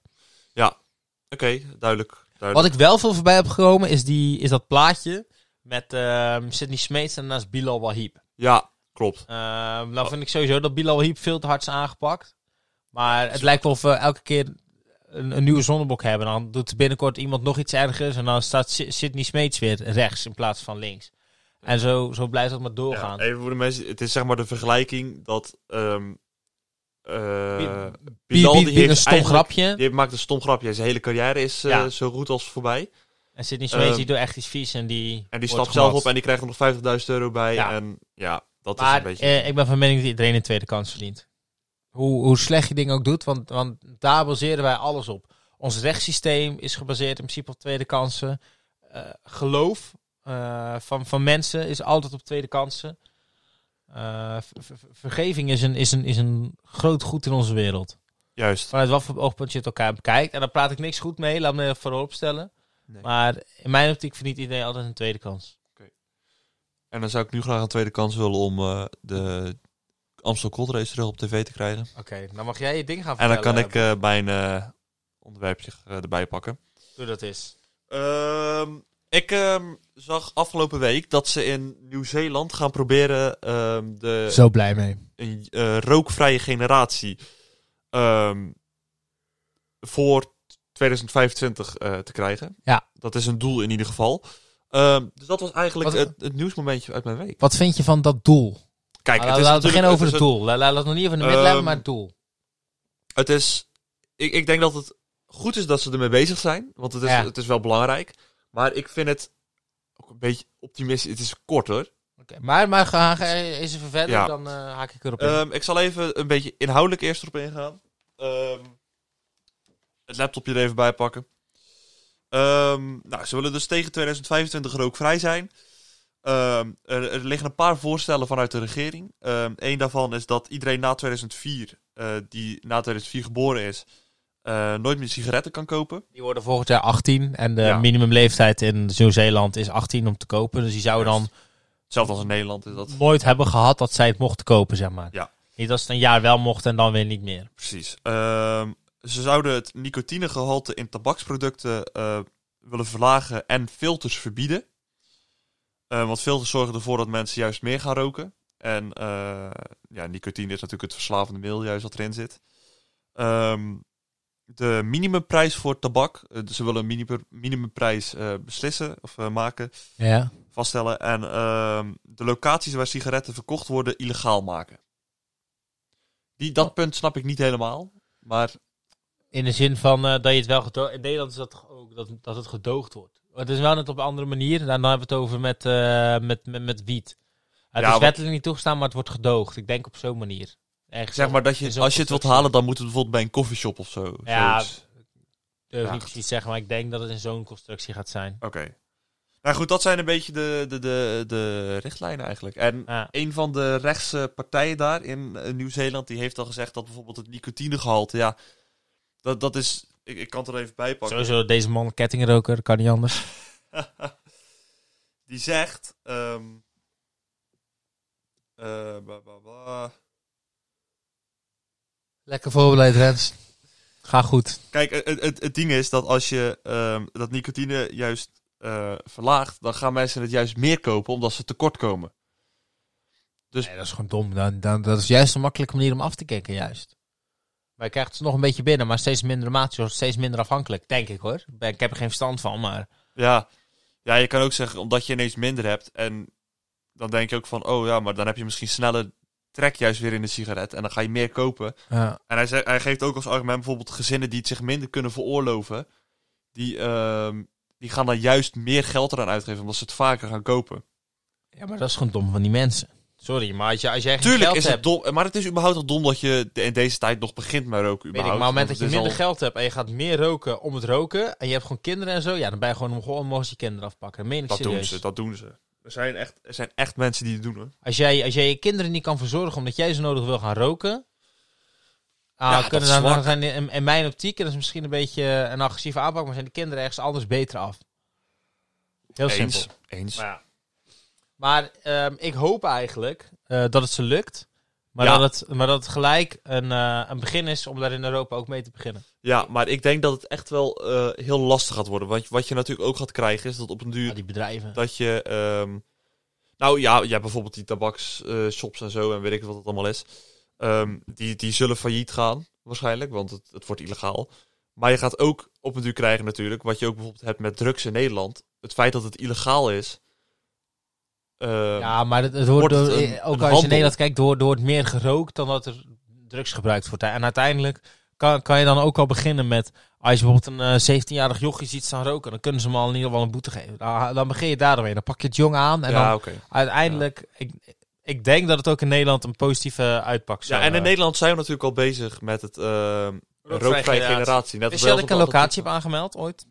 S3: Ja, oké, duidelijk.
S2: Wat
S3: duidelijk.
S2: ik wel veel voorbij heb gekomen is, die, is dat plaatje met ehm Sidney Smeets en naast Bilal Wahib.
S3: Ja, klopt.
S2: Ehm
S3: Oh.
S2: nou vind ik sowieso dat Bilal Wahib veel te hard is aangepakt. Maar het lijkt wel of we elke keer een, een nieuwe zonnebok hebben. Dan doet binnenkort iemand nog iets ergers en dan staat Si- Sidney Smeets weer rechts in plaats van links. En zo, zo blijft dat maar
S3: Ja,
S2: doorgaan.
S3: even voor de mensen, het is zeg maar de vergelijking dat... ehm eh
S2: Bi- Bibi
S3: Bilal die
S2: Bibi
S3: heeft
S2: een stom
S3: eigenlijk-
S2: grapje.
S3: Die maakt een stom grapje. Zijn hele carrière is eh,
S2: Ja.
S3: zo goed als voorbij.
S2: En Sidney Smeets
S3: Ehm,
S2: die doet echt iets vies en die
S3: En die
S2: wordt
S3: stapt zelf op
S2: gemat.
S3: en die krijgt er nog 50.000 euro bij.
S2: Ja.
S3: En ja, dat is
S2: maar
S3: een beetje...
S2: eh, ik ben van mening dat iedereen een tweede kans verdient. Hoe, hoe slecht je dingen ook doet, want, want daar baseren wij alles op. Ons rechtssysteem is gebaseerd in principe op tweede kansen. Eh, geloof eh, van, van mensen is altijd op tweede kansen. Eh, ver- ver- ver- vergeving is een, is, een, is een groot goed in onze wereld.
S3: Juist.
S2: Vanuit wat voor oogpunt je het elkaar bekijkt. En daar praat ik niks goed mee, laat me voorop stellen.
S3: Nee.
S2: Maar in mijn optiek verdient iedereen altijd een tweede kans.
S3: En dan zou ik nu graag een tweede kans willen om eh, de Amstel Gold Race terug op tv te krijgen.
S2: Oké, dan mag jij je ding gaan
S3: En dan kan ik eh, mijn eh, onderwerpje eh, erbij pakken.
S2: hoe dat is.
S3: Ehm, ik ehm, zag afgelopen week dat ze in Nieuw-Zeeland gaan proberen ehm, de
S2: Zo blij mee.
S3: een, eh, rookvrije generatie ehm, voor 2025 eh, te krijgen.
S2: Ja.
S3: Dat is een doel in ieder geval. Ehm, dus dat was eigenlijk
S2: Wat-
S3: het, het nieuwsmomentje uit mijn week.
S2: Wat vind je van dat doel?
S3: Kijk,
S2: Nou, Laten we
S3: natuurlijk-
S2: beginnen over
S3: is
S2: het doel. Laat laat het nog niet even in de midden
S3: Ehm,
S2: hebben, maar het doel.
S3: het is. Ik, ik denk dat het goed is dat ze ermee bezig zijn. Want het is,
S2: Ja.
S3: het is wel belangrijk. Maar ik vind het ook een beetje optimistisch. Het is kort hoor.
S2: Oké, Maar, maar ga, ga eens even verder,
S3: Ja.
S2: dan eh, haak ik erop in.
S3: Ehm, ik zal even een beetje inhoudelijk eerst erop ingaan. Ehm, het laptopje er even bij pakken. Ehm, nou, ze willen dus tegen 2025 rookvrij zijn. Ehm, er, er liggen een paar voorstellen vanuit de regering. Eén daarvan is dat iedereen na 2004, eh, die na 2004 geboren is, eh, nooit meer sigaretten kan kopen.
S2: die worden volgend jaar 18 en de
S3: Ja.
S2: minimumleeftijd in Nieuw-Zeeland is 18 om te kopen. Dus die zouden dan
S3: Hetzelfde als in Nederland is dus dat.
S2: nooit hebben gehad dat zij het mochten kopen, zeg maar.
S3: Ja.
S2: Niet dat ze het een jaar wel mochten en dan weer niet meer.
S3: Precies. Ehm, ze zouden het nicotinegehalte in tabaksproducten eh, willen verlagen en filters verbieden. Eh, want filters zorgen ervoor dat mensen juist meer gaan roken. En eh, ja, nicotine is natuurlijk het verslavende middel juist wat erin zit. Ehm, de minimumprijs voor tabak. eh, dus ze willen een minimum, minimumprijs eh, beslissen of eh, maken,
S2: Ja.
S3: vaststellen. En ehm, de locaties waar sigaretten verkocht worden illegaal maken. Die,
S2: Oh.
S3: dat punt snap ik niet helemaal. Maar
S2: In de zin van eh, dat je het wel gedoogd... In Nederland is dat toch ook, dat, dat het gedoogd wordt. Maar Het is wel net op een andere manier. En dan hebben we het over met, eh, met, met, met wiet. Het
S3: Ja,
S2: is
S3: want-
S2: wettelijk niet toegestaan, maar het wordt gedoogd. Ik denk op zo'n manier. Ergens
S3: Zeg maar dat je,
S2: is ook
S3: als je het wilt
S2: constructie.
S3: halen, dan moet het bijvoorbeeld bij een koffieshop of zo.
S2: Ja,
S3: zoiets.
S2: durf
S3: Ja.
S2: niet precies zeggen, maar ik denk dat het in zo'n constructie gaat zijn.
S3: Oké. Nou goed, dat zijn een beetje de, de, de, de richtlijnen eigenlijk. En
S2: Ja.
S3: een van de rechtse partijen daar in eh, Nieuw-Zeeland, die heeft al gezegd dat bijvoorbeeld het nicotinegehalte, ja, dat, dat is... Ik, ik kan het er even bij pakken.
S2: Sowieso deze man kettingroker, kan niet anders.
S3: (laughs) die zegt. ehm, eh, ba, ba, ba.
S5: Lekker voorbereid, Rens. Ga goed.
S3: Kijk, het, het, het ding is dat als je ehm, dat nicotine juist eh, verlaagt, dan gaan mensen het juist meer kopen omdat ze tekort komen.
S5: Nee, dat is gewoon dom. Dan, dan, dat is juist een makkelijke manier om af te kicken, juist. Maar je krijgt ze nog een beetje binnen, maar steeds minder maat. Je wordt steeds minder afhankelijk, denk ik hoor. Ik ben- Ik heb er geen verstand van, maar...
S3: Ja. ja, je kan ook zeggen omdat je ineens minder hebt. En dan denk je ook van, oh ja, maar dan heb je misschien sneller trek juist weer in de sigaret en dan ga je meer kopen.
S5: Ja.
S3: En hij, zei- hij geeft ook als argument bijvoorbeeld gezinnen die het zich minder kunnen veroorloven. Die, ehm, die gaan dan juist meer geld eraan uitgeven omdat ze het vaker gaan kopen.
S5: ja, maar dat is gewoon dom van die mensen.
S2: Sorry, maar als, je, als jij geen
S3: Tuurlijk
S2: geld
S3: is
S2: hebt...
S3: het dom. Maar het is überhaupt al dom dat je de- in deze tijd nog begint met roken.
S2: Weet ik,
S3: Überhaupt.
S2: maar op het moment dat
S3: Want
S2: je
S3: is
S2: minder
S3: al-
S2: geld hebt en je gaat meer roken om het roken... en je hebt gewoon kinderen en zo, ja, dan ben je gewoon om gewoon mogen ze je kinderen afpakken. Dat meen ik
S3: Dat doen
S2: serieus.
S3: ze, dat doen ze. Er zijn echt, er zijn echt mensen die het doen hoor.
S2: Als jij, als jij je kinderen niet kan verzorgen omdat jij zo nodig wil gaan roken... Ah,
S3: Ja, dat
S2: kunnen
S3: is
S2: dan, dan
S3: zwak.
S2: zijn in, in mijn optiek, en dat is misschien een beetje eh, een agressieve aanpak... maar zijn de kinderen ergens anders beter af. Heel simpel.
S3: Eens. Eens.
S2: Maar, ehm, ik hoop eigenlijk eh, dat het ze lukt. Maar,
S3: Ja.
S2: dat, het, maar dat het gelijk een, eh, een begin is om daar in Europa ook mee te beginnen.
S3: Ja, maar ik denk dat het echt wel eh, heel lastig gaat worden. Want wat je natuurlijk ook gaat krijgen is dat op een duur
S2: Ja, Ah, die bedrijven.
S3: dat je. ehm, nou ja, ja, bijvoorbeeld die tabaksshops en zo en weet ik wat het allemaal is. Ehm, die, die zullen failliet gaan, waarschijnlijk, want het, het wordt illegaal. Maar je gaat ook op een duur krijgen natuurlijk, wat je ook bijvoorbeeld hebt met drugs in Nederland. Het feit dat het illegaal is. ehm,
S2: Ja, maar het, het wordt
S3: Wordt het
S2: door-
S3: een-
S2: eh, ook
S3: een
S2: als je
S3: handel?
S2: in Nederland kijkt, door, door het meer gerookt dan dat er drugs gebruikt wordt. En uiteindelijk kan, kan je dan ook al beginnen met, als je bijvoorbeeld een eh, 17-jarig jochie ziet staan roken, dan kunnen ze hem al in ieder geval een boete geven. Dan, dan begin je daarmee. Dan pak je het jong aan en dan
S3: ja, oké.
S2: uiteindelijk, ik, ik denk dat het ook in Nederland een positieve uitpak zou
S3: Ja, en in
S2: eh,
S3: Nederland zijn we natuurlijk al bezig met het ehm
S2: Rookvrije
S3: rookvrije generatie.
S2: generatie.
S3: Net als
S2: Wist
S3: bij
S2: je dat
S3: ons
S2: ik
S3: op
S2: een
S3: de
S2: locatie heb
S3: atletiek.
S2: aangemeld ooit?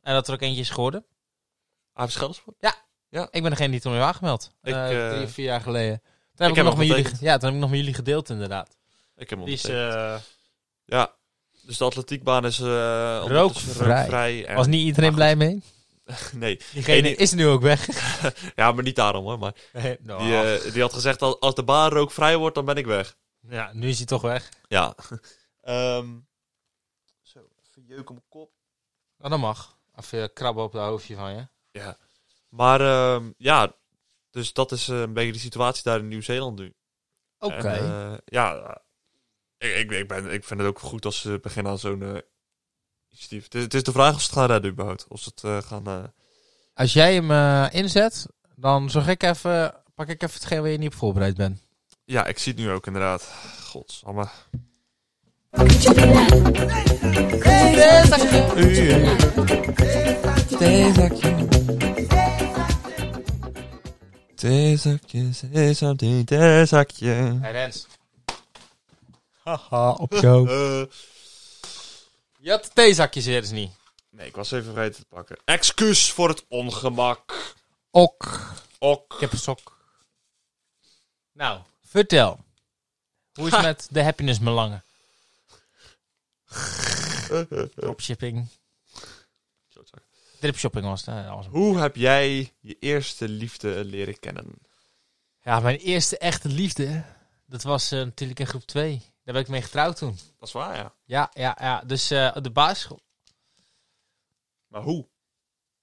S2: En dat er ook eentje is geworden?
S3: Ah, Schellerspoort?
S2: Ik ben degene die toen heeft aangemeld.
S3: Ik,
S2: Eh,
S3: eh,
S2: drie of vier jaar geleden. Toen heb ik,
S3: heb
S2: nog
S3: hem
S2: met jullie,
S3: getekend.
S2: ge- ja, toen heb ik nog met jullie gedeeld inderdaad.
S3: Ik heb hem
S2: Die is,
S3: ontdekt.
S2: eh,
S3: Ja, dus de atletiekbaan is eh, ondertussen
S2: Rookvrij.
S3: rookvrij en-
S2: was niet iedereen blij mee.
S3: Nee,
S2: eh, Diegene
S3: Nee, die-
S2: is nu ook weg. (laughs)
S3: ja, maar niet daarom hoor. Maar
S2: Nou,
S3: Die, eh, die had gezegd, al- als de baan rookvrij wordt, dan ben ik weg.
S2: Ja, nu is hij toch weg.
S3: Ja. (laughs) Ehm, Zo, even jeuk om mijn kop.
S2: Nou, dat mag. Of je krabben op het hoofdje van je.
S3: Ja. Maar ehm, ja, dus dat is eh, een beetje de situatie daar in Nieuw-Zeeland nu.
S5: Oké.
S3: En, eh, ja, ik, ik, ik, ben, ik vind het ook goed als ze beginnen aan zo'n eh, initiatief. Het is, het is de vraag of ze het gaan redden überhaupt. Of ze het eh, gaan... eh,
S5: Als jij hem eh, inzet, dan zorg ik even, pak ik even hetgeen waar je niet op voorbereid bent.
S3: Ja, ik zie het nu ook inderdaad. Godsamme. Theezakje, theezakje, theezakje.
S2: Hey Rens.
S5: Haha, op jou.
S3: Eh,
S2: (laughs) Je had de theezakjes weer eens niet.
S3: nee, ik was even vergeten te pakken. Excuus voor het ongemak.
S5: Ok.
S3: Ok.
S2: Ik heb een sok. Nou, vertel. Hoe is het met de happiness
S3: (laughs)
S2: belangen? Dropshipping. Dripshopping was het. eh, alles.
S3: Hoe heb jij je eerste liefde leren kennen?
S2: Ja, mijn eerste echte liefde, dat was eh, natuurlijk in groep 2. Daar ben ik mee getrouwd toen.
S3: Dat is waar, ja.
S2: Ja, ja, ja. Dus eh, op de basisschool.
S3: Maar hoe?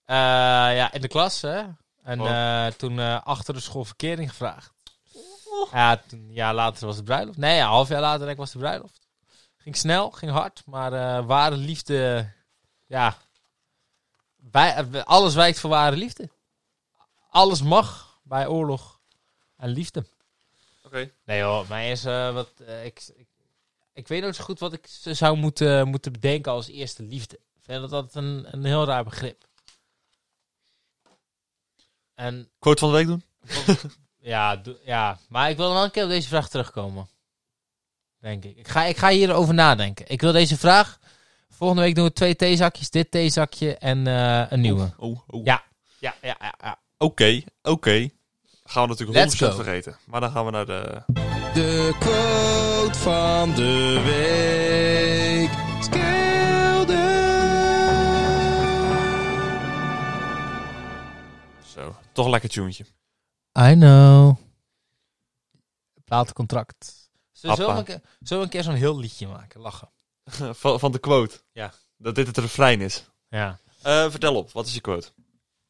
S2: Eh, ja, in de klas, hè. En
S3: Oh.
S2: eh, toen eh, achter de school verkering gevraagd. Ja, toen, een jaar later was de bruiloft. Nee, ja, een half jaar later denk ik, was de bruiloft. Ging snel, ging hard, maar eh, ware liefde, ja. Wij, eh, alles wijkt voor ware liefde. Alles mag bij oorlog en liefde.
S3: Oké.
S2: Nee hoor, mij is eh, wat. eh, ik, ik, ik weet nooit zo goed wat ik z- zou moeten, moeten bedenken als eerste liefde. Ik vind dat altijd een, een heel raar begrip. En
S3: Quote van de week doen?
S2: ja, doe- ja, maar ik wil nog een keer op deze vraag terugkomen. Denk ik. Ik ga, ik ga hierover nadenken. Ik wil deze vraag. Volgende week doen we twee theezakjes. Dit theezakje en eh, een nieuwe.
S3: Oh, oh.
S2: Ja. Ja, ja, ja. ja.
S3: Oké, oké. Gaan we natuurlijk 100%
S6: Let's go.
S3: vergeten. Maar dan gaan we naar de...
S6: De quote van de week. Skelder.
S3: Zo, toch een lekker tunetje.
S2: I know. Platencontract. Zullen
S3: Appa.
S2: zullen we, een keer, zullen we een keer zo'n heel liedje maken? Lachen.
S3: (laughs) Van, van de quote.
S2: Ja.
S3: Dat dit het refrein is.
S2: Ja.
S3: Eh, vertel op, wat is je quote?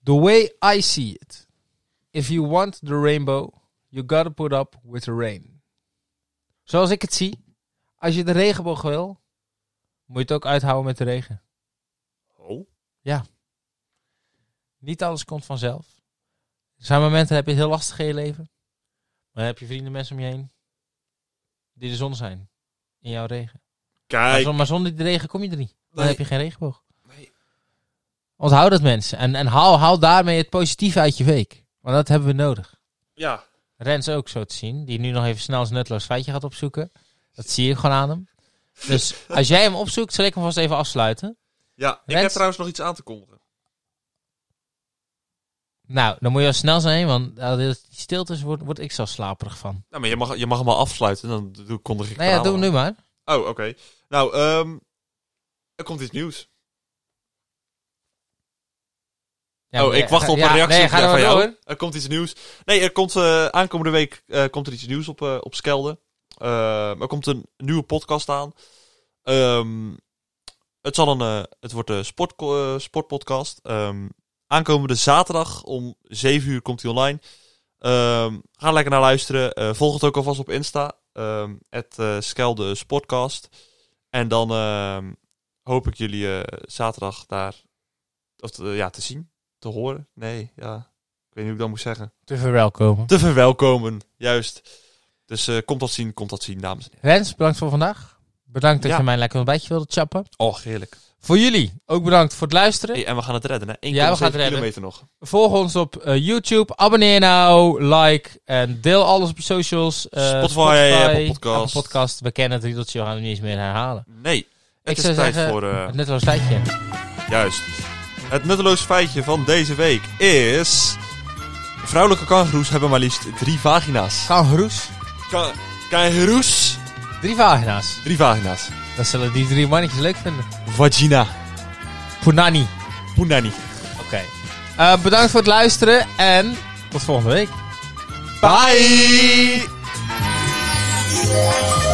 S2: The way I see it. If you want the rainbow, you gotta put up with the rain. Zoals ik het zie, als je de regenboog wil, moet je het ook uithouden met de regen.
S3: Oh.
S2: Niet alles komt vanzelf. Er zijn momenten heb je het heel lastig in je leven. Maar dan heb je vrienden, mensen om je heen, die de zon zijn. In jouw regen. Maar,
S3: Kijk.
S2: zon- maar zonder die regen kom je er niet. Dan
S3: Nee.
S2: heb je geen regenboog.
S3: Nee.
S2: Onthoud dat mensen. En, en haal, haal daarmee het positieve uit je week. Want dat hebben we nodig.
S3: Ja.
S2: Rens ook zo te zien. Die nu nog even snel zijn nutteloos feitje gaat opzoeken. Dat zie je gewoon aan hem. Dus als jij hem opzoekt, zal ik hem vast even afsluiten.
S3: Ja, ik
S2: Rens-
S3: heb trouwens nog iets aan te kondigen.
S2: Nou, dan moet je wel snel zijn, want eh, als die stilte is, word, word ik zo slaperig van.
S3: Nou, maar je mag, je mag hem al afsluiten, dan doe, kondig ik
S2: Nou ja,
S3: het
S2: doe hem
S3: aan.
S2: nu maar.
S3: Oh, oké. Nou, ehm, er komt iets nieuws.
S2: Ja,
S3: oh,
S2: maar-
S3: ik wacht op
S2: ja,
S3: een reactie
S2: Nee, ga er
S3: van
S2: maar
S3: jou.
S2: door.
S3: Er komt iets nieuws. Nee, er komt eh, aankomende week eh, komt er iets nieuws op, eh, op Skelde. Ehm, er komt een nieuwe podcast aan. Ehm, het, zal een, eh, het wordt een sport, eh, sportpodcast. Ehm, aankomende zaterdag om 7 uur komt hij online. Ehm, ga er lekker naar luisteren. Eh, volg het ook alvast op Insta. ehm het eh, Skelde Sportcast. En dan ehm, hoop ik jullie eh, zaterdag daar of, eh, ja, te zien. Te horen. Nee, ja. Ik weet niet hoe ik dat moet zeggen.
S2: Te verwelkomen.
S3: Te verwelkomen, juist. Dus eh, komt dat zien, komt dat zien, dames en
S2: Rens, bedankt voor vandaag. Bedankt dat
S3: Ja.
S2: je mij lekker een beetje wilde chappen.
S3: heren. Oh, heerlijk.
S2: Voor jullie ook bedankt voor het luisteren.
S3: Hey, en we gaan het redden, hè? 1,7
S2: Ja, we gaan het redden.
S3: kilometer nog.
S2: Volg ons op eh, YouTube. Abonneer nou, like en deel alles op je socials. Eh,
S3: Spotify, Apple Podcast.
S2: Apple Podcast. We kennen het riedeltje, we gaan het niet eens meer herhalen.
S3: Nee, het
S2: Ik
S3: is
S2: zou
S3: tijd
S2: zeggen-
S3: voor... eh,
S2: Net als tijdje.
S3: juist. Het nutteloos feitje van deze week is... Vrouwelijke kangoeroes hebben maar liefst drie vagina's.
S2: Kangaroes.
S3: Ka kangoeroes,
S2: Drie vagina's.
S3: drie vagina's.
S2: Dat zullen die drie mannetjes leuk vinden.
S3: Vagina.
S2: Punani.
S3: Poenani.
S2: Oké. Eh, bedankt voor het luisteren en tot volgende week.
S3: Bye!
S7: Yeah.